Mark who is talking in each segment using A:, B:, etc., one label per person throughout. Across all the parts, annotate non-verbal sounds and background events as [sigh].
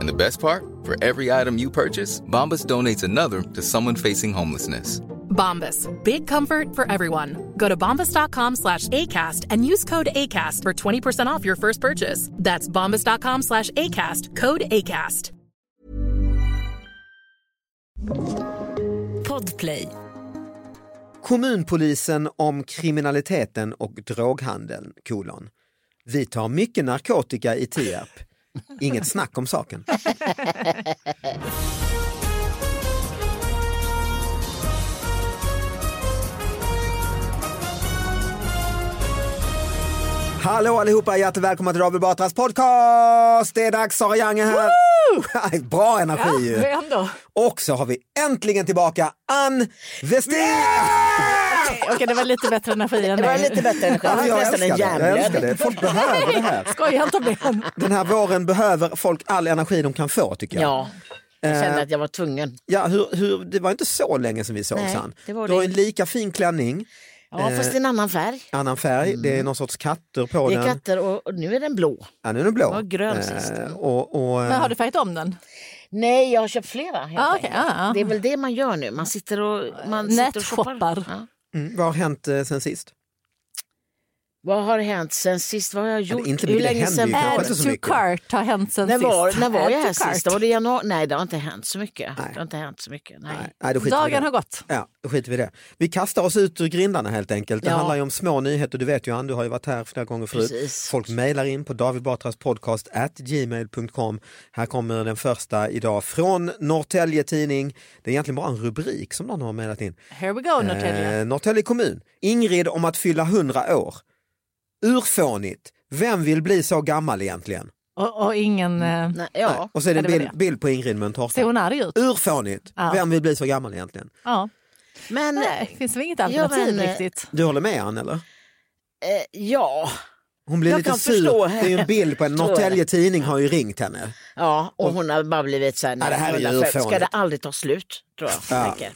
A: And the best part? For every item you purchase, Bombas donates another to someone facing homelessness.
B: Bombas. Big comfort for everyone. Go to bombas.com slash ACAST and use code ACAST for 20% off your first purchase. That's bombas.com slash ACAST. Code ACAST.
C: Podplay.
D: Kommunpolisen om kriminaliteten och droghandeln, kolon. Vi tar mycket narkotika i Tierp. Inget snack om saken. Hallå allihopa, hjärtligt välkomna till David Batras podcast! Det är dags, Sara Jange här. [laughs] Bra energi ju.
E: ändå.
D: Och så har vi äntligen tillbaka Ann Westin!
E: Okej, det var lite bättre energi än
F: Det var lite bättre energi. Alltså, Jag
D: Ja,
F: hade
D: jag
F: nästan en
D: älskar det, jag älskar
F: hjärnblödning.
D: det. Folk behöver det här.
E: Skoja inte om det.
D: Den här våren behöver folk all energi de kan få tycker jag.
F: Ja, jag kände
D: Eh,
F: att jag var tvungen.
D: ja, hur, hur, det var inte så länge sedan vi såg
F: Nej,
D: Ann.
F: det var
D: Du har
F: det.
D: en lika fin klänning,
F: Ja, fast i en annan färg.
D: annan färg, det är någon sorts katter på
F: Mm. Det
D: den.
F: är katter och, och nu är den blå.
D: Ja, nu är den blå.
F: var grön
D: Eh,
F: sist.
D: och, och,
E: Men har du färgat om den?
F: Nej, jag har köpt flera. Helt
E: Ah,
F: enkelt.
E: okej, ah, ah.
F: Det är väl det man gör nu. Man sitter och, man sitter och
E: Nätshoppar.
F: Ja.
D: mm, vad har hänt eh, sen sist?
F: Vad har hänt sen sist? Vad har jag
D: Men
F: gjort?
D: inte mycket, det händer ju
E: Add
D: Add inte så
E: to
D: mycket.
E: cart har hänt sen
F: När
E: sist.
F: var, när var
E: Add
F: jag
E: to
F: här
E: cart.
F: sist? Var det i januari? Nej, det har inte hänt så mycket.
D: Nej.
F: Det har inte hänt så mycket. Nej.
D: Nej, då skiter vi i
E: Dagen
D: det.
E: har gått.
D: Ja, då skiter vi i det. Vi kastar oss ut ur grindarna helt enkelt. Det
F: Ja.
D: handlar ju om små nyheter. Du vet ju Ann, du har ju varit här flera gånger förut.
F: Precis.
D: Folk mejlar in på davidbatraspodcast@gmail.com. Här kommer den första idag från Norrtälje Tidning. Det är egentligen bara en rubrik som någon har mejlat in.
E: Here we go Norrtälje.
D: Eh, Norrtälje kommun. Ingrid om att fylla 100 år. Urfånigt. Vem vill bli så gammal egentligen?
E: Och, och ingen... eh,
F: Nej, ja.
D: Och så är det en
E: Ja, det var
D: bild,
E: det.
D: bild på Ingrid med en tårta.
E: Ser hon arg ut?
D: Urfånigt.
E: Ja.
D: Vem vill bli så gammal egentligen?
E: Ja.
F: Men
E: Nej, finns väl inget
F: Ja,
E: alternativ
F: men, eh,
E: riktigt.
D: Du håller med Ann eller?
F: eh, ja,
D: Hon blir
F: Jag
D: lite
F: kan
D: sur.
F: förstå
D: Det är ju en bild på en
F: Förstår
D: Norrtälje tidning har ju ringt henne.
F: ja, och hon har bara blivit så här,
D: Ja, det här är ju
F: 105. ska
D: urfånigt.
F: det aldrig ta slut? Tror jag.
D: Ja.
F: tänker.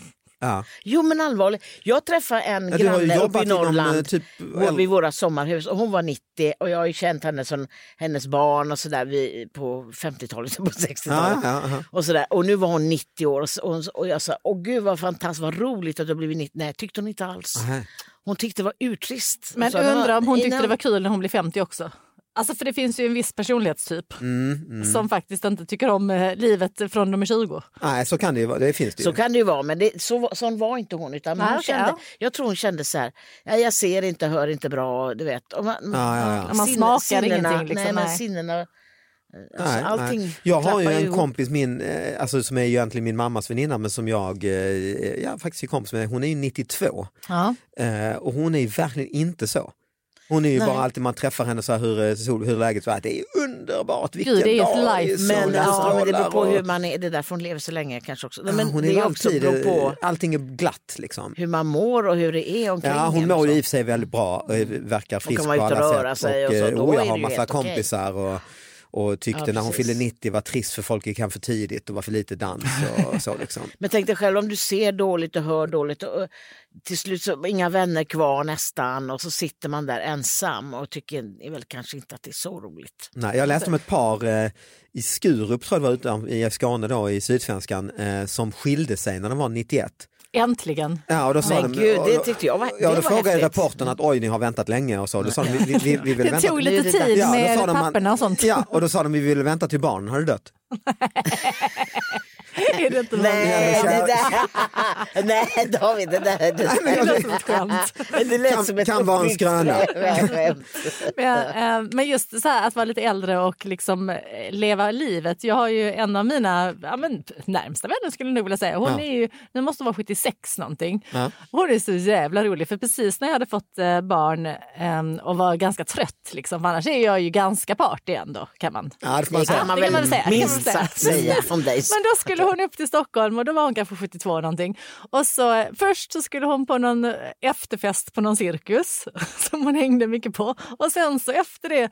D: Ja.
F: Jo men allvarligt, jag träffade en
D: Ja, du har ju
F: granne uppe
D: jobbat
F: i
D: inom, eh,
F: Norrland
D: typ äldre-
F: vår- vid våra sommarhus och hon var 90 och jag har ju känt henne som hennes barn och sådär vid- på 50-talet och [laughs] på 60-talet.
D: Ja, ja, ja.
F: Och, sådär. och nu var hon 90 år och, s- och, hon s- och jag sa, åh gud vad fantastiskt, vad roligt att du har blivit 90. Nej, tyckte hon inte alls.
D: Nej.
F: Hon tyckte det var urtrist.
E: Men
F: Så det var-
E: undrar om hon tyckte
F: innan-
E: det var kul när hon blev 50 också. Alltså för det finns ju en viss personlighetstyp
D: Mm,
E: som faktiskt inte tycker om eh, livet från de är 20.
D: Nej, så kan det ju vara. Det finns det ju.
F: Så kan det ju vara, men det, så, sån var inte hon. Utan
E: Nej,
F: hon
E: okej,
F: kände,
E: ja.
F: Jag tror hon kände så här, ja, jag ser inte, hör inte bra, du vet. Och man,
D: Ja, ja, ja.
E: Ja, man smakar ingenting, liksom,
F: nej, men
E: nej.
F: sinnena, eh, alltså,
D: Nej,
F: allting
D: nej. Jag har ju
F: klappar
D: en
F: ihop.
D: kompis, min, eh, alltså, som är ju egentligen min mammas väninna, men som jag eh, ja, faktiskt är kompis med. Hon är ju 92
E: Ja.
D: eh, och hon är ju verkligen inte så. Hon är ju
F: Nej.
D: bara alltid, man träffar henne så här hur, eh, sol, hur läget är, det är underbart, vilken
E: Gud, det är ju ett
D: dag,
E: life-
D: solen
F: Men, ja, men det beror på
D: strålar
F: hur
D: och-
F: man är, det är därför hon lever så länge kanske också.
D: Ja,
F: men
D: hon
F: det
D: är
F: är också
D: alltid,
F: beror på
D: eh, allting är glatt liksom.
F: hur man mår och hur det är omkring
D: Ja,
F: en
D: hon mår
F: och
D: ju
F: så.
D: i och för sig väldigt bra och är- verkar frisk
F: liksom. vara
D: på
F: ute och
D: alla
F: röra
D: sätt.
F: sig och så,
D: eh,
F: då
D: oh, jag
F: är
D: har
F: det ju
D: massa
F: helt okej.
D: kompisar och, och tyckte
F: Ja,
D: när hon
F: precis.
D: fyllde 90 var trist för folk gick hem för tidigt och var för lite dans och så liksom.
F: Men tänk dig själv om du ser dåligt och hör dåligt. Och, och till slut så inga vänner kvar nästan och så sitter man där ensam och tycker väl kanske inte att det är så roligt.
D: Nej, jag läste om ett par eh, i Skurup, tror jag det var, utan, i Skåne då, i Sydsvenskan, eh, som skilde sig när de var 91.
E: Äntligen.
F: [laughs]
D: Ja, och då sa
F: Men
D: de,
F: gud,
D: och-
F: det tyckte jag var- det
D: Ja, då
F: var
D: frågade
F: häftigt.
D: reportern att oj, ni har väntat länge och så. Då sa de, vi, vi, vi, vi vill
E: Det
D: vänta.
E: tog
F: Nu är
E: lite
F: det dags.
E: tid
D: Ja, då
E: med
D: sa de, man-
E: papperna och sånt.
D: Ja, och då sa de vi vill vänta till barnen har dött.
E: Är det inte
F: Nej,
D: men
F: det
D: kär-
F: där, [laughs] nej David, det där det, där,
D: men jag-
E: Det lät som ett skämt.
F: [laughs] det lät
D: Kan-
F: som ett
D: kan vara en
F: uppbyggt
D: skröna.
F: [laughs] skämt.
E: Men, eh, men just så här, att vara lite äldre och liksom eh, leva livet. Jag har ju en av mina ja, men, närmsta vänner skulle jag nog vilja säga. Hon
D: Ja.
E: är ju, nu måste hon vara 76 någonting. Hon är så jävla rolig för precis när jag hade fått eh, barn eh, och var ganska trött liksom, för annars är jag ju ganska party ändå kan man.
D: Ja, det får man
F: Det
D: säga.
F: kan man
E: det kan man
F: väl
E: väl säga, det kan man
F: minst
E: säga.
F: sagt säga från dig.
E: Men då skulle hon upp till Stockholm och då var hon kanske 72 någonting. Och så eh, först så skulle hon på någon eh, efterfest på någon cirkus [laughs] som hon hängde mycket på. Och sen så efter det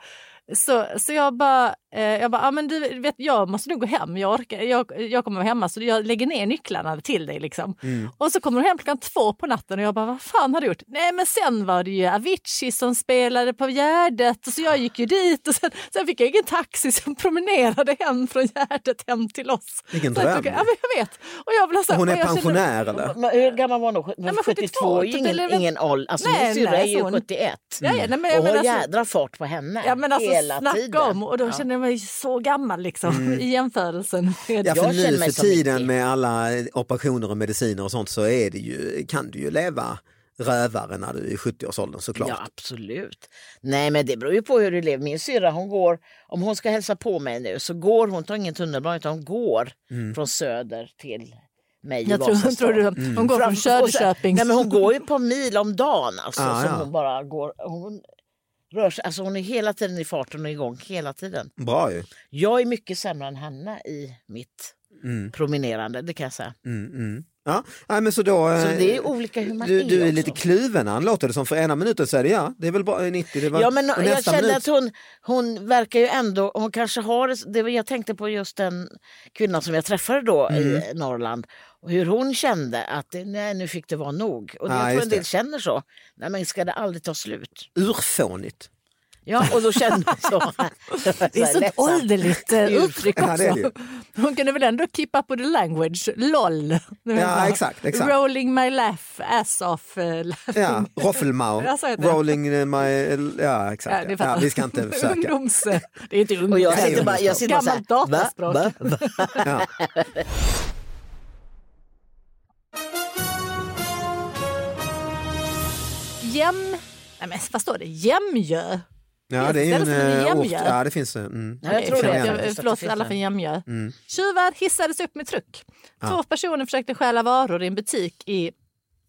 E: så, så jag bara, eh, jag bara, ah, men du vet jag måste nog gå hem, jag, orkar, jag, jag kommer vara hemma så jag lägger ner nycklarna till dig liksom. Och så kommer hon hem klockan två på natten och jag bara, vad fan har du gjort? Nej men sen var det ju Avicii som spelade på Gärdet och så jag gick ju dit och sen, sen fick jag ingen taxi som [laughs] promenerade hem från Gärdet hem till oss.
D: Vilken
E: Så jag
D: dröm.
E: tycker- Ja, men jag vet. Och jag blev så här,
D: Hon
E: och
D: är
E: jag kände-
D: pensionär eller?
F: Men hur gammal var hon då?
E: men
F: 72,
E: 72
F: är ju
E: typ,
F: ingen,
E: eller vem-
F: ingen ålder. Alltså, min
E: Nej,
F: syrra är
E: nej,
F: ju
E: så hon-
F: 71.
E: Ja, ja, nej, men
F: Och
E: jag
F: har
E: menar, så,
F: jädra fart på henne
E: ja, men alltså,
F: hela
E: snacka
F: tiden.
E: om, och då
F: Ja.
E: känner jag mig så gammal liksom,
D: Mm.
E: i jämförelsen. Med
D: Ja, för
F: Jag
D: nu
F: känner
D: för
F: mig som
D: tiden
F: 90.
D: med alla operationer och mediciner och sånt så är det ju, kan du ju leva rövare när du är i 70-årsåldern såklart.
F: Ja, absolut. Nej, men det beror ju på hur du lever. Min syrra, hon går, om hon ska hälsa på mig nu så går hon, tar ingen tunnelbana utan hon går
D: Mm.
F: från söder till mig i
E: Jag tror, hon,
F: Vasastan.
E: tror du,
D: Mm.
E: hon går från
F: Fram- och sen-
E: Söderköping.
F: Nej, men hon går ju på mil om dagen alltså.
D: Ah,
F: som
D: ja.
F: hon bara går, hon rör sig, alltså hon är hela tiden i farten och igång hela tiden.
D: Bra ju.
F: Jag är mycket sämre än Hanna i mitt
D: Mm,
F: promenerande, det kan jag säga.
D: mm, mm. Ja, nej, men så då, eh,
F: Så det är olika hur man
D: du,
F: är
D: du är
F: också.
D: lite kluven Ann, låter det som. För ena minuten säger du ja, det är väl bra, 90, det var,
F: Ja, men
D: och
F: jag
D: nästa
F: kände
D: minut
F: att hon, hon verkar ju ändå, hon kanske har, det- det, var- jag tänkte på just den kvinnan som jag träffade då
D: Mm.
F: i Norrland, och hur hon kände att det- nej, nu fick det vara nog. Och
D: Ja,
F: jag tror
D: just
F: en del
D: det.
F: känner så, nej men ska det aldrig ta slut?
D: urfånigt.
F: Ja, och då kände jag
D: [laughs]
F: så.
E: Det är
F: så
E: så ett ålderligt eh,
F: Ur-
E: uttryck
D: Ja,
E: också.
D: det är det ju.
E: Hon kunde väl ändå keep up with the language, LOL. Nu vet jag.
D: exakt, exakt.
E: Rolling my laugh, ass off. eh, [laughs]
F: [laughs]
E: laughing.
D: Ja, Roffelmau,
E: Ja, så heter det.
D: Rolling eh, my... Ja,
E: Ja,
D: exakt.
E: det
D: Ja,
E: fattar.
D: vi
F: [laughs]
D: ska inte
E: [laughs]
D: försöka.
E: Ungdoms... Det är inte ungdoms.
F: Och jag
D: Nej,
F: sitter
D: hon
F: bara, jag sitter bara så här,
E: Gammalt dataspråk.
F: va, va, va?
D: Ja.
E: Jäm... Nej, men vad står det? Jämjö?
D: Ja, det är ju
E: Ställer sig
D: en
E: med
D: eh, ort.
E: jämjö.
D: Ja, det finns... eh, Mm.
F: Ja, jag tror
D: känner
F: det.
D: igen
F: Jag-
E: Jag, förlåt alla för Jämjö. Tjuvar hissades upp med truck. Två personer försökte stjäla varor i en butik i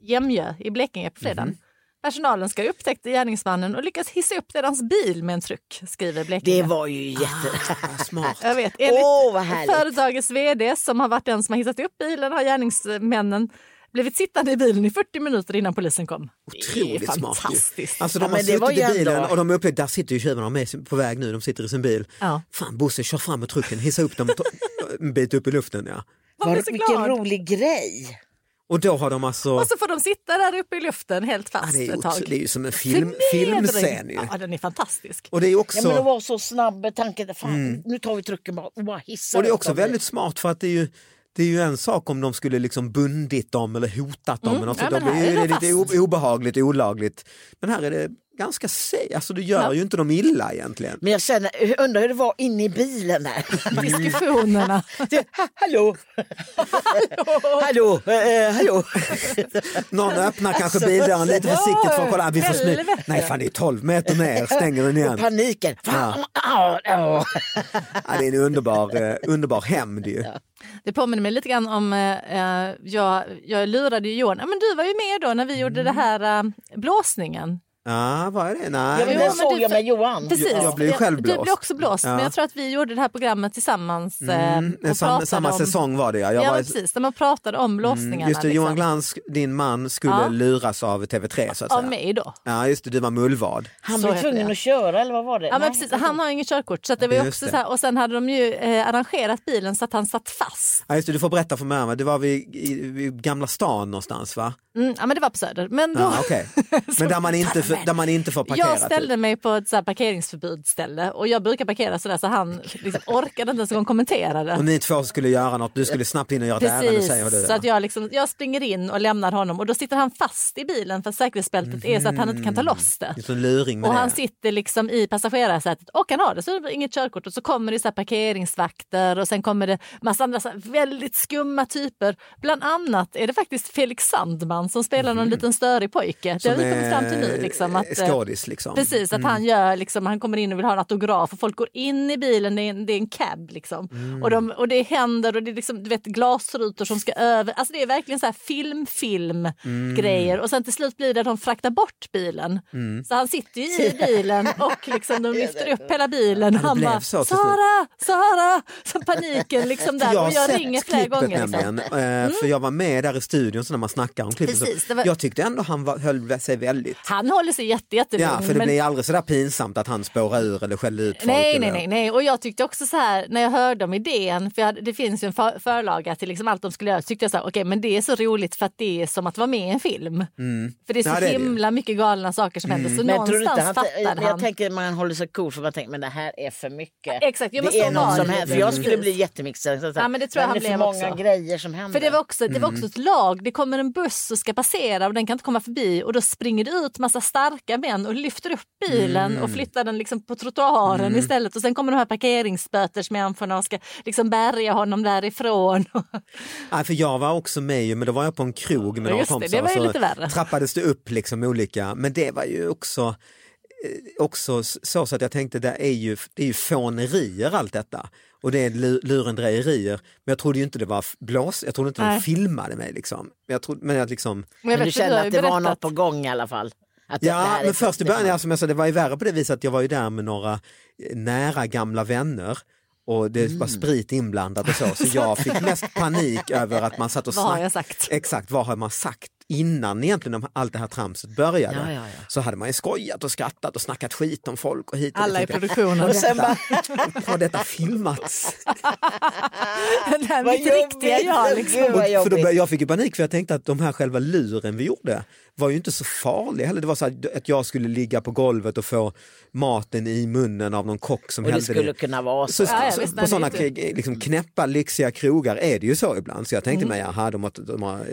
E: Jämjö i Blekinge på fredagen. Personalen ska ha upptäckt gärningsmannen och lyckas hissa upp deras bil med en truck, skriver Blekinge.
F: Det var ju jätte...
D: Ah, Vad Smart.
E: Jag vet. Enligt
F: Åh, vad härligt.
E: företagets vd som har varit den som har hissat upp bilen har gärningsmännen blivit sittande i bilen i 40 minuter innan polisen kom. det
D: Otroligt
E: är
D: smart. ju.
E: fantastiskt.
F: Ja,
D: Alltså de har
F: men det var
D: suttit i
F: ju
D: bilen
F: ändå-
D: och de är uppe, där sitter ju tjuvarna och de är på väg nu, de sitter i sin bil.
E: Ja.
D: Fan Bosse, kör fram med trucken, hissa upp dem och ta- en bit upp i luften. Ja.
E: Man blir
F: Var,
E: så
F: vilken
E: glad.
F: rolig grej!
D: Och då har de alltså...
E: Och så får de sitta där uppe i luften helt
D: ja,
E: fast
D: det, är ju,
E: ett
D: otro-
E: tag.
D: det är ju som en film,
E: Förnedring.
D: filmscen ju.
E: Ja, den är fantastisk.
D: Och det är också...
F: Ja, men det var så snabb tanke, fan, nu tar vi trucken bara, och bara hissar
D: Mm. Och det är
F: upp
D: också
F: dem.
D: väldigt smart för att det är ju det är ju en sak om de skulle liksom bundit dem eller hotat dem. eller något,
E: Mm. Ja,
D: sånt.
E: men
D: då
E: här
D: blir
E: är
D: det
E: de
D: lite o- obehagligt, olagligt. Men här är det ganska safe, alltså du gör ju inte dem illa egentligen.
F: Men jag känner, jag undrar hur det var inne i bilen där. [laughs]
E: Diskussionerna.
F: Det- ha, hallå! hallå! Eh, hallå!
D: Någon
E: Alltså,
D: öppnar kanske bildörren lite försiktigt för att kolla, vi får smyga.
E: helvete.
D: Nej fan det är 12 meter ner, stänger den
E: [laughs]
F: Och
D: igen.
F: paniken. Ah, Fan, au, au.
D: Ja, det är en underbar, eh, underbar hämnd ju.
E: [laughs] Det påminner mig lite grann om, eh, eh, jag, jag lurade ju Johan, ja, men du var ju med då när vi gjorde det här eh, blåsningen.
D: Ja, vad är det?
F: Ja, men
D: Nej.
E: Jo,
F: den
E: men
F: såg
E: du-
F: jag med Johan.
E: Precis.
D: Mm. Jag blev ju själv
E: Du
D: blåst.
E: blev också blåst,
D: Ja.
E: men jag tror att vi gjorde det här programmet tillsammans. eh,
D: Mm,
E: och
D: sam,
E: pratade
D: samma
E: om,
D: säsong var det ja. Jag
E: ja,
D: var i-
E: men precis. När man pratade om blåsningarna.
D: Mm, just det, Johan
E: liksom.
D: Glans, din man, skulle
E: Ja.
D: luras av TV3 så att
E: Av
D: säga.
E: mig då.
D: Ja, just det, du var mullvad.
F: Han
E: Så
F: blev
E: heter
F: tvungen
E: det.
F: att köra eller vad var det?
E: Ja,
F: Nej,
E: men precis. Han har ju inget körkort. Så att det var ju
D: Just
E: också
D: det.
E: så här, och sen hade de ju eh, arrangerat bilen så att han satt fast.
D: Ja, just det, du får berätta för mig, va? det var vid, i, vid Gamla stan någonstans va?
E: Mm, ja, men det var på Söder. Men då,
D: Ja,
E: [laughs]
D: okej. Men där man, inte, för, där man inte får parkera.
E: jag ställde
D: typ.
E: mig på ett så här parkeringsförbudsställe och jag brukar parkera sådär så han liksom, orkade inte ens en gång kommentera det.
D: Och ni två skulle göra något, du skulle snabbt in och göra ett ärende säger du.
E: Precis, så
D: ja.
E: att jag, liksom, jag springer in och lämnar honom och då sitter han fast i bilen för säkerhetsbältet är så att han inte kan ta loss det.
D: Det är så en luring med
E: Och
D: Mhm. det.
E: han sitter liksom i passagerarsätet och han har det, så det blir inget körkort. Och så kommer det så här parkeringsvakter och sen kommer det massa andra så här väldigt skumma typer. Bland annat är det faktiskt Felix Sandman som spelar någon liten störig pojke. Det har vi kommit fram till nu. Liksom, att, eh,
D: Mhm. skådis liksom.
E: Precis, att han, gör, liksom, han kommer in och vill ha en autograf och folk går in i bilen, det är en, det är en cab. Liksom.
D: Mm.
E: Och, de, och det händer och det är liksom, du vet, glasrutor som ska över. Alltså det är verkligen så här film, film
D: Mm.
E: grejer. Och sen till slut blir det att de fraktar bort bilen.
D: Mm.
E: Så han sitter ju i
D: [laughs]
E: bilen och liksom, de lyfter upp hela bilen. Och
D: det
E: han
D: blev
E: bara,
D: så till slut.
E: Sara, Sara! Så paniken liksom där.
D: Jag har
E: och jag
D: sett
E: ringer flera
D: klippet
E: gånger. Liksom.
D: nämligen, eh, för jag var med där i studion så när man snackar om klippet.
E: Precis,
D: så,
E: det var-
D: Jag tyckte ändå han var, höll sig väldigt...
E: Han håller sig jätte, jättelugn.
D: Ja, för det
E: men-
D: blir aldrig sådär pinsamt att han spårar ur eller skäller ut folk.
E: Nej,
D: eller-
E: nej, nej, nej. Och jag tyckte också så här när jag hörde om idén, för jag, hade- det finns ju en för, förlaga till liksom allt de skulle göra, så tyckte jag så här, okej, men det är så roligt för att det är som att vara med i en film.
F: Mm.
E: För det är så
D: Ja, det är det ju.
E: himla mycket galna saker som händer, så
F: Men tror du
E: någonstans
F: inte han,
E: fattade
F: men jag
E: han.
F: tänker man håller sig cool för man tänker men det här är för mycket.
E: Exakt, jo, men
F: det
E: så
F: är något
E: var
F: som
E: det.
F: händer. För jag skulle
E: Precis.
F: bli jättemixad.
E: Ja, men det tror jag han
F: det är för
E: blev
F: många
E: också.
F: grejer som händer.
E: För det var, också, det var
F: Mm.
E: också ett lag, det kommer en buss som ska passera och den kan inte komma förbi och då springer det ut massa starka män och lyfter upp bilen
F: Mm.
E: och flyttar den liksom på trottoaren istället och sen kommer de här parkeringsbötersmänniskorna och ska liksom bärga honom därifrån. [laughs]
D: Nej, för jag var också med ju, men då var jag på en krog med
E: Ja,
D: några
E: just det,
D: kompisar.
E: det var ju
D: och så
E: lite värre.
D: trappades det upp liksom olika, men det var ju också eh, också så, så att jag tänkte det är ju, det är ju fånerier allt detta och det är lu- lurendrejerier. Men jag trodde ju inte det var f- blås, jag trodde inte
E: Nej.
D: de filmade mig liksom. Men jag trodde, men jag liksom
E: jag
F: Men
E: vet
F: du
E: att
F: kände
E: har ju
F: att det var
E: berättat.
F: något på gång i alla fall? Att det- det
D: Ja,
F: här är
D: men först i
F: det-
D: början, ja, som jag sa, det var ju värre på det viset att jag var ju där med några eh, nära gamla vänner och det
E: Mm.
D: var sprit inblandat och så, så jag fick mest panik över att man satt och
E: [laughs] Vad har
D: snack-
E: jag sagt?
D: Exakt, vad har man sagt innan egentligen om allt det här tramset började?
F: Ja, ja, ja.
D: Så hade man ju skojat och skrattat och snackat skit om folk och hit och
E: Alla i
D: dit. Jag tänkte,
E: produktionen.
D: "Har detta- [laughs] Har detta filmats?
E: Det här
F: Vad
E: mitt riktiga
F: jobbigt.
E: jag. Liksom.
F: Gud, vad
D: Och, för då,
F: jobbigt.
D: började- jag fick ju panik för jag tänkte att de här själva luren vi gjorde var ju inte så farlig heller. Det var så här, att jag skulle ligga på golvet och få maten i munnen av någon kock som
F: Och det
D: hällde
F: skulle kunna vara så.
D: Så,
E: Ja, ja,
D: så,
E: visst, men
D: på sådana
E: det är ju
D: k- liksom knäppa, lyxiga krogar är det ju så ibland. Så jag tänkte mig, jaha, de, har- de har, eh,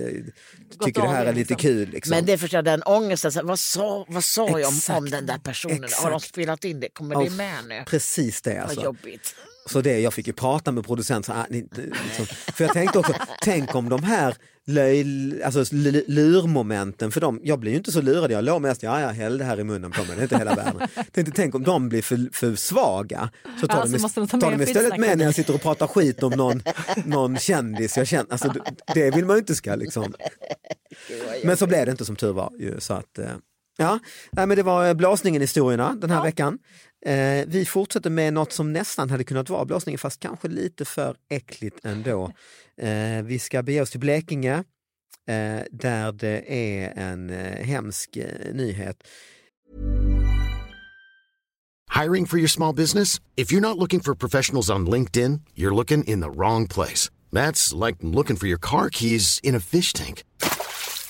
D: tycker det
E: av
D: här
E: det,
D: är lite
E: liksom.
D: kul. Liksom.
F: Men det förstår jag, den ångesten. så här, Vad sa, vad sa jag om, om
D: Exakt.
F: den där personen? Har de
D: Exakt.
F: spelat in det? Kommer det
D: Ja,
F: med nu?
D: Precis det
F: Vad
D: alltså.
F: jobbigt.
D: Så det, jag fick ju prata med producenten. så, ah, ni- Liksom. För jag tänkte också, tänk om de här löj, alltså, l- lurmomenten, för de, jag blir ju inte så lurad, jag låg mest, ja jag hällde här i munnen på mig, det är inte hela världen. Tänkte, tänk om de blir för, för svaga, så tar
E: Ja, så
D: de,
E: måste de
D: ist-
E: ta
D: tar
E: med
D: de istället
E: skitsnacket.
D: med när jag sitter och pratar skit om någon, någon kändis jag känner. Alltså, d- det vill man ju inte ska liksom. Men så blev det inte som tur var. Ju, så att, eh, ja. Nej, men det var eh, blåsningen i historierna den här veckan. Eh, vi fortsätter med något som nästan hade kunnat vara blåsningen fast kanske lite för äckligt ändå. Eh, vi ska bege oss till Blekinge eh, där det är en eh, hemsk eh, nyhet.
G: Hiring for your small business? If you're not looking for professionals on LinkedIn, you're looking in the wrong place. That's like looking for your car keys in a fish tank.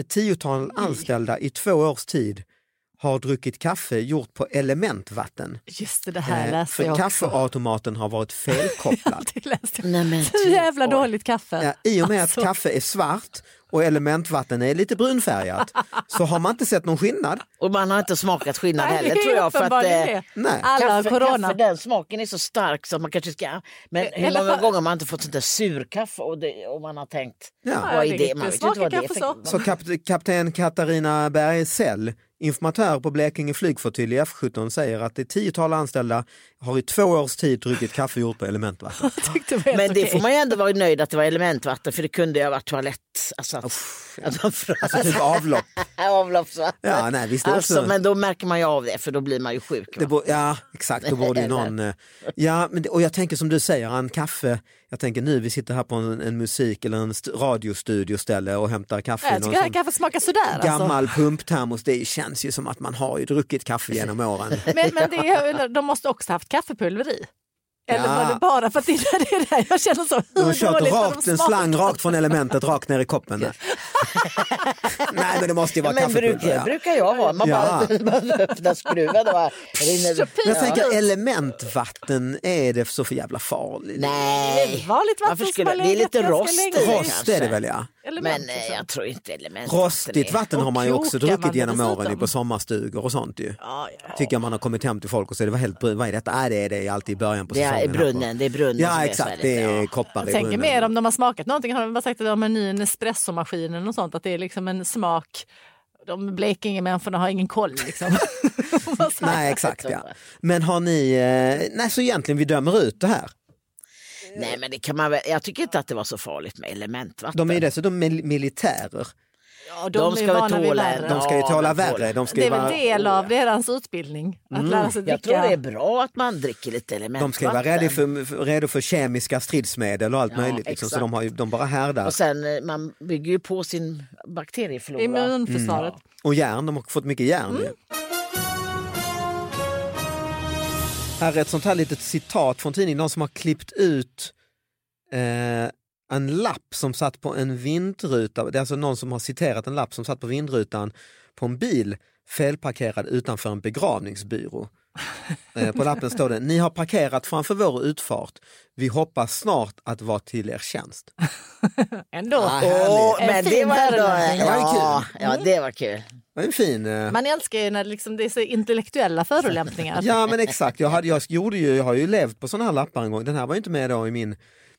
D: Ett tiotal anställda i två års tid har druckit kaffe gjort på elementvatten.
E: Just det, det här
D: Eh,
E: läste jag
D: för
E: också.
D: kaffeautomaten har varit felkopplad.
E: [laughs] Det läste jag.
F: Nej, men
E: Så jävla
F: oj.
E: dåligt kaffe.
D: Ja, I och med
E: Alltså.
D: att kaffe är svart och elementvatten är lite brunfärgat så har man inte sett någon skillnad.
F: Och man har inte smakat skillnad
E: Nej,
F: heller
E: det är
F: tror jag. För att,
E: uppenbarligen
F: eh,
E: det.
D: Nej.
E: Alla har
F: Kaffe,
E: corona.
F: kaffe, den smaken är så stark så att man kanske ska... Men
E: Eh,
F: hur
E: eller
F: många
E: fa-
F: gånger har man inte fått sånt där surkaffe och, det, och man har tänkt,
D: Ja.
F: vad
E: det
F: är det?
E: är
F: Man vet ju inte
E: smaken
F: vad det är
E: kanske
F: för
D: Så kap- kapten Katarina Bergsell, informatör på Blekinge flygflottilj i F17 säger att ett tiotal anställda har i två års tid druckit kaffe gjort på
E: [laughs]
D: elementvatten.
E: Tyckte det var helt
F: Men det
E: okej.
F: får man ju ändå vara nöjd att det var elementvatten för det kunde ju ha varit toalett. Alltså att, att man frös
D: Alltså typ avlopp.
F: [laughs] avloppsvatten.
D: Ja, nej, visst det är
F: Alltså,
D: också-
F: men då märker man ju av det för då blir man ju sjuk.
D: Det
F: va?
D: bo- ja, exakt. Då borde ju någon... eh, Ja, men det, och jag tänker som du säger, en kaffe. Jag tänker nu, vi sitter här på en, en musik eller en st- radiostudioställe och hämtar kaffe. i
E: Jag
D: någon
E: tycker det här
D: sån
E: kaffet smakar sådär. Alltså.
D: Gammal pumptermos, det känns ju som att man har ju druckit kaffe genom åren.
E: Men, men [laughs] det är, de måste också haft kaffepulver i. Eller
D: Ja.
E: var det bara för att det är det, är det här jag känner så.
D: De har
E: hur
D: kört
E: dåligt har
D: rakt
E: de
D: en
E: smakat?
D: slang rakt från elementet rakt ner i
E: [laughs]
D: koppen. där. [laughs] Nej men det måste ju vara
F: men
D: kaffepulver.
F: brukar,
D: ja.
F: brukar jag ha. Man
D: Ja.
F: bara, [laughs] man öppnar skruven och bara rinner.
D: Men jag
F: Ja.
D: tänker elementvatten, är det så för jävla farligt?
F: Nej,
E: Vanligt vatten
F: Varför
E: som
F: skulle-
E: har
F: det är lite
E: legat ganska
F: rost
E: länge
F: i.
E: i.
D: Rost är det väl ja.
E: Element,
F: men eh,
E: liksom.
F: jag tror inte elementvatten
D: Rostigt
F: är-
D: vatten har man ju
E: Och
D: också
E: kloka
D: druckit
E: vatten
D: genom åren ju
E: dessutom.
D: på sommarstugor och sånt ju.
E: Ja, ja.
D: Tycker jag man har kommit hem till folk och så är det var helt brunt. Vad är detta? Nej, det är det alltid i början på
F: Det
D: säsongen.
F: är
D: här på-
F: brunnen, det är brunnen som
D: Ja
F: är
D: exakt,
F: så
D: det
F: här lite,
D: är
F: ja.
D: koppar i
E: Tänker mer
D: brunnen.
E: om de har smakat någonting. Har de bara sagt att de har en ny espressomaskin eller något sånt? Att det är liksom en smak. De Blekinge-människorna har ingen koll liksom.
F: [laughs]
D: Nej exakt ja. Men har ni, eh, nej så egentligen vi dömer ut det här.
F: Nej men det kan man väl, jag tycker inte att det var så farligt med elementvatten.
D: De är ju dessutom mil- militärer.
E: Ja,
F: De
E: är
F: ska
E: ju
F: väl
E: vana vid
F: tåla
E: värre.
F: en-
D: De ska ju
F: Ja,
D: tåla
F: de tål.
D: värre. De ska
E: Det
D: ju
E: är
D: vara,
E: väl del av deras utbildning. Att lära sig
F: Mm. Jag
E: dricka.
F: tror det är bra att man dricker lite elementvatten.
D: de ska ju vara redo för, för- redo för kemiska stridsmedel och allt
F: Ja,
D: möjligt. Liksom. Så
F: exakt.
D: de, har ju, de bara härdar.
F: Och sen eh, man bygger ju på sin bakterieflora.
E: Immunförsvaret.
D: Och järn, de har fått mycket järn. ju. Här är ett sånt här litet citat från tidningen. Någon som har klippt ut eh, en lapp som satt på en vindruta. Det är alltså någon som har citerat en lapp som satt på vindrutan på en bil felparkerad utanför en begravningsbyrå. Eh, på lappen står det, ni har parkerat framför vår utfart. Vi hoppas snart att vara till er tjänst.
E: Ändå.
D: Ah,
F: Åh,
D: härligt.
F: Mm. men
E: En
F: det
E: fin
F: var ändå,
E: värdelandning.
D: Det var ju
F: ja,
D: kul.
F: ja, det var kul.
D: Det är en fin... eh,
E: Man älskar ju när liksom det är så intellektuella förolämpningar.
D: Ja men exakt, jag, hade, jag, gjorde ju, jag har ju levt på sådana här lappar en gång. Den här var ju inte med då i min,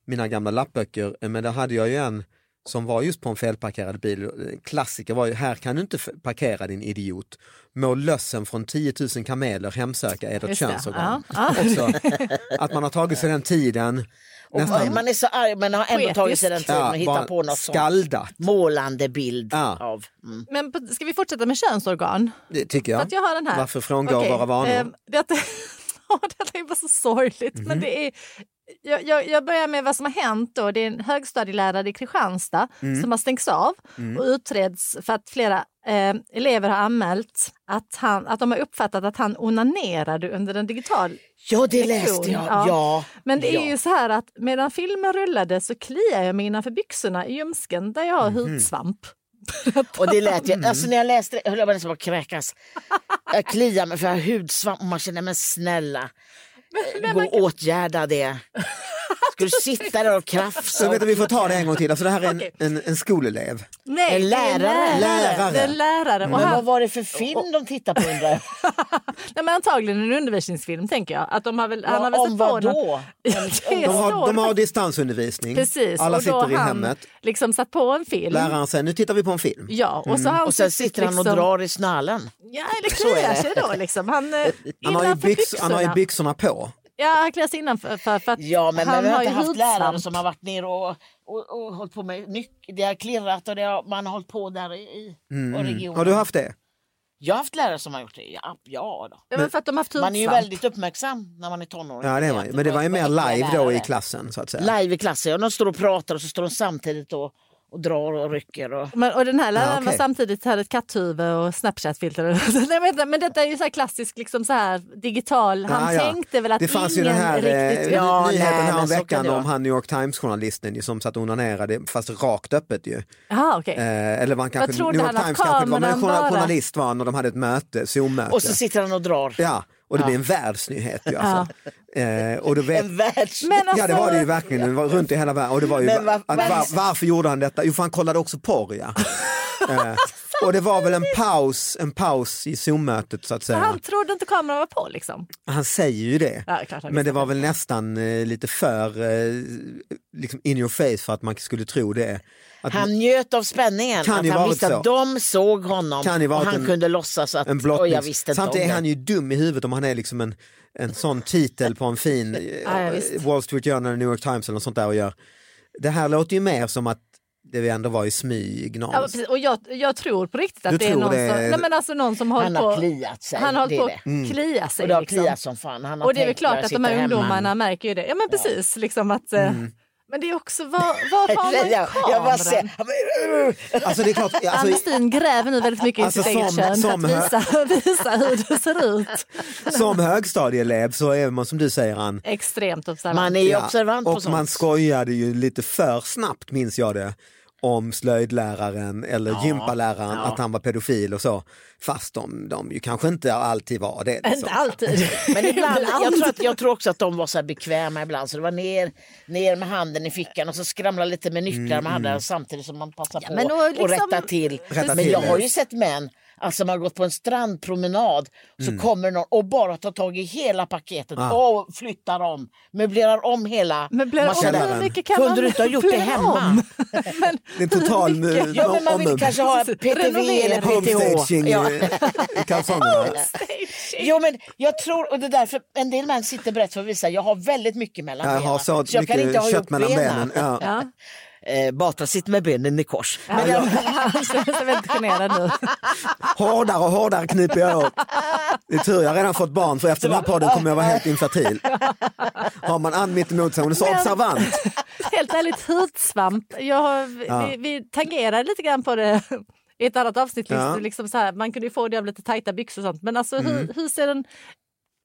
D: mina gamla lappböcker, eh, men där hade jag ju en som var just på en felparkerad bil. Eh, Klassiker var ju, här kan du inte f- parkera din idiot. Må lössen från 10 000 kameler hemsöka ert
E: Just det,
D: könsorgan.
E: ja, ja.
D: Också, att man har tagit sig den tiden,
F: Och
D: nästan
F: man är så arg men har ändå
E: Poetisk.
F: tagit sig den tiden
D: ja,
F: att hitta
D: bara
F: på något sånt
D: skaldat.
F: målande bild
D: Ja.
F: av. Mm.
E: Men på- ska vi fortsätta med könsorgan?
D: Det tycker jag.
E: För att jag har den här.
D: Varför frångå
E: Okej,
D: våra vanor?
E: ehm, detta, [laughs] Ja, detta är bara så sorgligt.
F: Mhm.
E: Men det är, jag, jag, jag börjar med vad som har hänt. Då. Det är en högstadielärare i Kristianstad
F: Mm.
E: som har stängts av och utreds för att flera eh, elever har anmält att, han, att de har uppfattat att han onanerade under en digital
F: Ja det
E: Lektion,
F: läste jag.
E: ja.
F: Ja.
E: men det är
F: ja.
E: ju så här att medan filmen rullade så kliar jag mig innanför byxorna i ljumsken där jag har
F: Mhm.
E: hudsvamp.
F: Och det lät ju,
D: Mm.
F: alltså när jag läste det höll jag bara nästan på att kräkas. Jag kliar mig för jag har hudsvamp och man känner men snälla.
E: men
F: Gå
E: man
F: och åtgärda det. Ska du sitta där och krafsa?
D: Så vet du, vi får ta det en gång till, alltså, det här är en,
E: Okej.
D: en, en skolelev.
E: Nej,
F: En
E: det är en
F: lärare.
D: Lärare.
E: Det är en lärare. Och
F: Men vad
E: han,
F: var det för film de tittade på undrar jag?
E: nej, men antagligen en undervisningsfilm tänker jag. Att de har väl, han har väl
F: Om
E: sett på
F: vad
E: någon-
F: då?
E: [laughs] Ja, det
D: De har,
E: står
D: de har
E: faktiskt-
D: distansundervisning,
E: Precis,
D: alla
E: och då
D: sitter i
E: har
D: hemmet.
E: Han liksom satt på en film.
D: Läraren Mm. säger, nu tittar vi på en film.
E: Ja, [laughs] och, så har han
F: Och sen
E: suttit
F: sitter han och
E: liksom-
F: drar i snallen.
E: Ja, eller
F: Så är
E: kliar
F: det.
E: sig då liksom. Han, eh,
D: Han har, ju
E: innanför
D: byx, han har ju
E: byxorna.
D: byxorna på.
E: Ja, han klär sig innanför för, för att
F: Ja, men,
E: han
F: men vi har
E: har ju
F: inte haft lärare
E: hudsvamp.
F: som har varit ner och, och, och hållit på med nyckel. Det har klirrat och det har, man har hållit på där i, i och regionen.
D: Mm. Har du haft det? Jag
F: Jag har haft lärare som har gjort det. Ja, ja då.
E: Ja, men för att de har haft
F: Man är ju
E: hudsvamp.
F: väldigt uppmärksam när man är tonåring.
D: Ja, det var, ju- men det var ju mer
F: äckliga
D: live då i
F: lärare.
D: klassen så att säga.
F: Live i klassen, ja. De står och pratar och så står de samtidigt och, och drar och rycker. Och...
E: Men, och den här läraren
D: okej.
E: var samtidigt hade ett katthuvud och Snapchat-filter. [laughs] Nej, men, vänta, men detta är ju så här klassisk liksom så här, digital. Han
D: Ja, ja.
E: tänkte väl att
D: det fanns ju
E: ingen
D: den här
E: riktigt...
D: eh,
F: Ja, nej,
D: nyheten
F: men
D: här om
F: så kan
D: veckan
F: det vara.
D: om han New York Times-journalisten ju som satt och onanerade fast rakt öppet ju.
E: Aha, okej.
D: Eh, eller var han kanske, New
E: trodde
D: York
E: han att
D: Times kanske det var, men
E: kameran
D: journal,
E: bara-
D: journalist var han och de hade ett möte, Zoom-möte.
F: Och så sitter han och drar.
D: Ja, och det blev en världsnyhet ju alltså. eh, och då vet,
F: En världs...
E: Men alltså,
D: Ja det var det ju verkligen, det var runt i hela världen. Och det var ju,
F: Men vad-
D: att, var, varför gjorde han detta? Jo för han kollade också porr
F: [laughs]
D: ja. eh, och det var väl en paus, en paus i Zoom-mötet så att
E: så
D: säga.
E: han trodde inte kameran var på liksom.
D: Han säger ju det.
E: Ja, klart han
D: men det
E: visste
D: var väl nästan eh, lite för eh, liksom in your face för att man skulle tro det. Att
F: Han njöt av spänningen,
D: Kan ju
F: att han
D: varit
F: visste att
D: så.
F: de såg honom
D: Kan ju
F: och
D: varit
F: han
D: en-
F: kunde låtsas att
D: en
F: "Oj,
D: blottning.
F: jag visste inte om
D: Samtidigt är
F: det."
D: han ju dum i huvudet om han är liksom en, en sån titel på
F: [laughs]
D: en fin eh,
E: Ja, ja, visst.
D: Wall Street Journal eller New York Times eller något sånt där och gör. Det här låter ju mer som att det ändå var i smyg
E: Ja,
D: någonstans.
E: precis. och jag, jag tror på riktigt att
D: Du
E: det är
D: tror
E: någon,
D: det
E: som,
D: är-
E: nej, men alltså någon som
F: Han
E: håller
F: har
E: på,
F: kliat sig.
E: han
F: det
E: håller
F: är
E: på
F: det. Mm.
E: att klia sig.
F: Och det har
E: liksom.
F: kliat som fan. Han har
E: Och det är väl
F: tänkt
E: klart
F: bara
E: att
F: sitta
E: de här
F: hemma. [laughs]
E: ungdomarna märker ju det. Ja men precis, liksom att, eh, men det är också, var, var har man
F: Jag, jag bara ser,
E: kameran?
F: han bara, "Ugh."
D: Alltså det
F: [laughs]
D: är klart, alltså,
E: Ann-Kristin gräver nu väldigt mycket
D: Alltså,
E: i sitt eget
D: som-
E: kön
D: som
E: för att visa, [laughs] visa hur det ser ut.
D: som högstadieelev så är man som du säger Ann,
E: Extremt observant.
F: man är ju
D: Ja,
F: observant
D: och
F: på sånt.
D: man skojade ju lite för snabbt minns jag det om slöjdläraren eller gympaläraren att han var pedofil och så. Fast de, de ju kanske inte alltid var det. liksom.
E: Inte alltid. [laughs]
F: Men ibland, jag, tror att, jag tror också att de var så här bekväma ibland så det var ner, ner med handen i fickan och så skramla lite med nycklar med handen samtidigt som man passar på
E: men då
F: och,
E: liksom-
F: rätta till.
D: Mm, Rätta
F: men
D: till,
F: jag
D: ja.
F: har ju sett män alltså man har gått på en strandpromenad så
D: Mm.
F: kommer någon och bara tar tag i hela paketet och flyttar om, möblerar om hela
E: Möblerar om,
F: känner,
D: hur
E: mycket kan
F: Kunde
E: man
F: du inte ha gjort det
E: möblera
F: hemma?
D: [laughs]
E: om?" men,
D: Det är total eh,
F: [laughs] Ja, men man vill
D: omöjlig.
F: kanske ha PTV eller PTH.
D: Homestaging
F: Ja.
D: i
F: [laughs]
D: kalsongerna.
F: Jo, men jag tror, och det är därför en del män sitter brett för att visa, jag har väldigt mycket mellan
D: Jag
F: benen.
D: har så,
F: jag kan inte ha
D: mycket
F: gjort
D: kött mellan benen.
F: benen.
D: Ja.
E: ja.
F: Eh, Batra sitter med benen i kors.
E: Ja, jag, han känner sig väldigt generad nu.
D: Hårdare och hårdare kniper jag åt. Det är tur jag har redan fått barn för efter den här podden kommer jag vara helt infertil. Har man Ann mitt emot sig, hon är så
E: Men-
D: observant.
E: Helt ärligt, hudsvamp. Jag har, vi- vi, vi tangerade lite grann på det i ett annat avsnitt.
D: Ja. Mm.
E: Liksom, liksom så här, man kunde ju få det av lite tajta byxor och sånt. Men alltså, hur, hur ser den...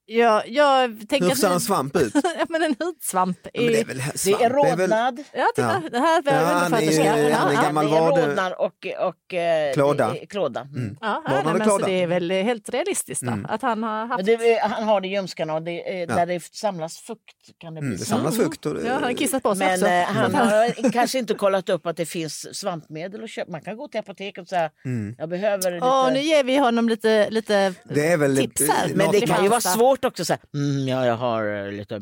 E: Ja, jag tänker
D: Hur
E: att
D: ser en
E: ni-
D: svamp ut?
E: [laughs] Ja, men en hudsvamp.
D: Men det är
E: Är...
D: väl
F: alltså, Det
D: svamp.
F: är
D: Det är väl-
F: rodnad.
E: Ja, titta.
D: Ja.
E: Det här
D: Ja,
E: behöver
D: han är- han är
E: undersköterska.
D: en
E: Ja,
D: gammal
F: det är
D: vade.
F: rodnad och, och eh,
D: Klåda.
F: det är klåda. Mm.
E: Ja, nej,
D: Barnen
E: men
D: är
E: alltså,
D: glada.
E: det är väl helt realistiskt då,
D: Mm.
E: att han har haft...
F: Men det, eh, han har det i ljumskarna och det, eh, där det samlas fukt kan det bli.
D: Mm, det samlas fukt. Mm. Och
E: Ja, han har kissat på sig
F: Men
E: också.
F: eh, han har kanske inte kollat upp att det finns svampmedel att köpa. Man kan gå till apoteket och säga
D: Mm.
F: jag behöver lite.
E: Åh, nu ger vi honom lite... lite...
D: det är väl
E: Tips här.
D: eh,
F: Men det kan
D: något-
F: ju vara
E: Kristianstad.
F: svårt också. Så här, mm, ja, jag har eh, lite...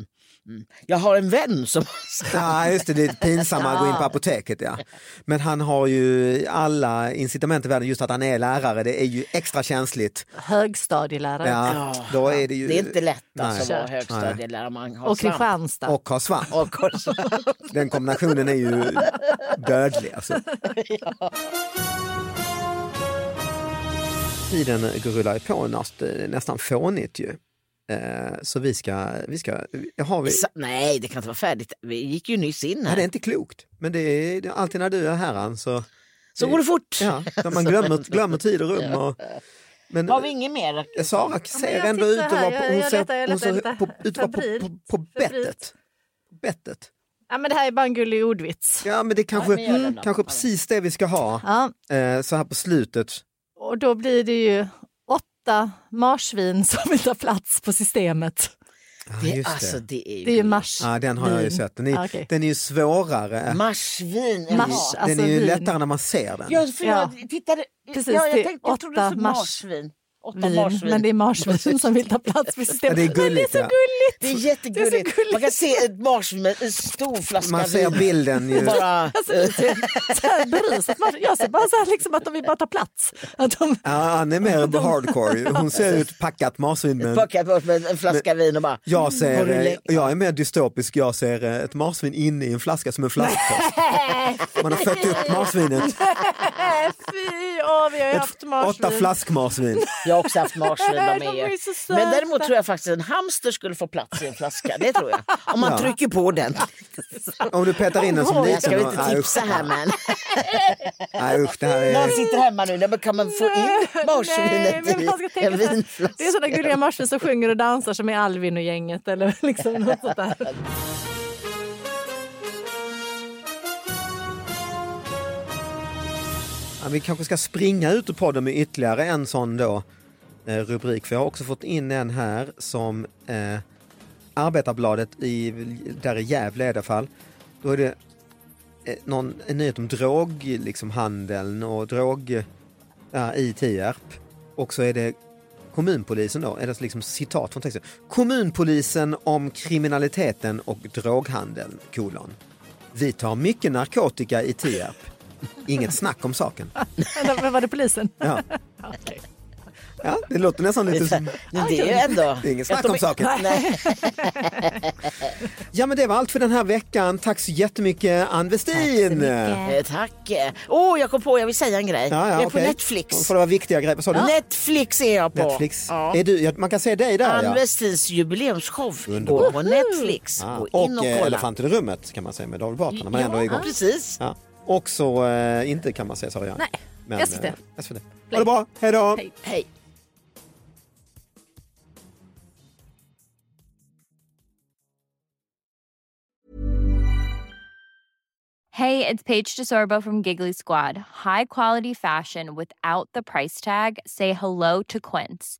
F: Mm. Jag har en vän som... [laughs]
D: Ja, just det, det är pinsammare att gå in på apoteket. Ja. Men han har ju alla incitament i världen, just att han är lärare, det är ju extra känsligt.
E: Högstadielärare.
D: Ja, då är det ju...
F: Det är inte lätt alltså,
D: Nej.
F: att vara högstadielärare. om Man har
E: Och
F: svamp.
E: Kristianstad.
D: Och har svamp.
F: Och har svamp.
D: Den kombinationen är ju dödlig. Alltså. Tiden rullar ju på nast, nästan fånigt ju. Eh, Så vi ska, vi ska, har vi,
F: Sa- [laughs] Nej, det kan inte vara färdigt. Vi gick ju nyss in
D: nej, det är
F: här.
D: inte klokt. Men det är, det är alltid när du är här Ann, så,
F: Så går det fort.
D: ja, när
F: [laughs]
D: man glömmer, glömmer tid och rum. Och, men
F: Har vi inget mer?
D: Sara ser
E: jag
D: ändå ut
E: tittar
D: att vara
E: här.
D: på,
E: Jag-
D: hon
E: jag
D: ser-
E: letar- jag
D: hon
E: letar
D: ser
E: lite
D: på- ut att vara på, på,
E: febrilt.
D: på bettet.
E: Febrilt.
D: På bettet.
E: Ja, men det här är bara en gullig ordvits.
D: Ja men det är kanske,
F: men gör den då.
D: kanske precis det vi ska ha
E: Ja,
D: eh, så här på slutet.
E: och då blir det ju åtta marsvin som vill ta plats på systemet.
D: Ja,
F: Det,
D: just
F: alltså, det är ju...
E: Det är ju mars.
D: Ja, den har jag ju sett. Den är,
E: Ah, okej.
D: den är ju svårare.
F: Marsvin.
E: Mars,
F: jaha.
E: alltså
D: den är ju
E: vin.
D: lättare när man ser den.
F: Ja, för
E: Ja.
F: jag tittade...
E: Precis,
F: ja, jag,
E: det är
F: tänkte, jag trodde
E: åtta
F: det stod
E: mars-
F: marsvin. Åtta
E: Vin,
F: marsvin.
E: men det är marsvin som vill ta plats på
D: Ja,
E: systemet.
D: det är
E: men det är
D: gulligt,
E: så
D: ja.
E: gulligt!
F: Det är jättegulligt.
E: gulligt.
F: Man kan se ett marsvin med en stor flaska
D: Man ser
F: vin.
D: bilden ju.
F: Bara,
E: Alltså, det är så här berusat mars- jag ser bara så här liksom att de vill bara ta plats. Att de,
D: Ja, han
F: [laughs]
D: är mer på hardcore. ju. Hon ser ut packat marsvin men
F: packat bort med en flaska vin och bara...
D: jag,
F: Har
D: ser,
F: du
D: eh,
F: lä-
D: jag är mer dystopisk. Jag ser eh, ett marsvin inne i en flaska som en flaskpost. Man har fött upp marsvinet.
E: Nej, [laughs] fy! Ja, vi har ju haft
D: åtta
E: marsvin.
D: flaskmarsvin.
F: Jag har också haft marsvin.
D: [laughs]
E: Nej,
F: de
E: de
F: är
E: är
F: ju.
E: så söta.
F: Men däremot tror jag faktiskt att en hamster skulle få plats i en flaska. Det tror jag. Om man
D: Ja.
F: trycker på den.
D: Om du petar in den som liten.
F: Jag ska väl
D: och-
F: inte
D: nej,
F: tipsa
D: usch.
F: här men.
D: [laughs] Nej usch, det här
F: Någon
D: är...
F: sitter hemma nu. Men kan man få in
E: Nej,
F: marsvinet
E: men man ska
F: i en
E: tänka så här,
F: vinflaska?
E: Det är sådana gulliga marsvin som sjunger och dansar som är Alvin och gänget eller
F: [laughs]
E: liksom något sånt där.
D: Ja, vi kanske ska springa ut ur podden med ytterligare en sån då eh, rubrik. För jag har också fått in en här som eh, Arbetarbladet i, där i Gävle i alla fall. Då är det eh, någon, en nyhet om drog, liksom handeln och drog ja, i Tierp. Och så är det kommunpolisen då, eller liksom citat från texten. Kommunpolisen om kriminaliteten och droghandeln, kolon. Vi tar mycket narkotika i Tierp. Inget snack om saken.
E: Eller vad var det polisen?
D: Ja. ja, det låter nästan lite som...
F: Men det är ju ändå.
D: Det är ingen snack om saken. Ja, men det var allt för den här veckan. Tack så jättemycket, Ann Westin. Ja,
F: Eh, Tack. Åh, oh, jag kom på, jag vill säga en grej. jag är på
D: okej.
F: Netflix.
D: Får det vara viktiga grejer? Vad sa du?
F: Netflix är jag på.
D: Netflix.
F: Ja.
D: Är du, ja, man kan se dig där,
F: Ann
D: ja.
F: Westins jubileumsshow går
D: Underbart.
F: på Netflix.
D: Ah,
F: Gå in
D: Och
F: och
D: eh,
F: kolla.
D: Elefanten i rummet kan man säga med David Batra när man ändå är igång.
F: Precis.
D: Ja. Och så eh, inte kan man säga, sa jag. Nej, Men,
E: SVT.
D: eh, SVT. Ha det bra, hej då!
F: Hej.
H: Hey, it's Paige DeSorbo from Giggly Squad. High quality fashion without the price tag. Say hello to Quince.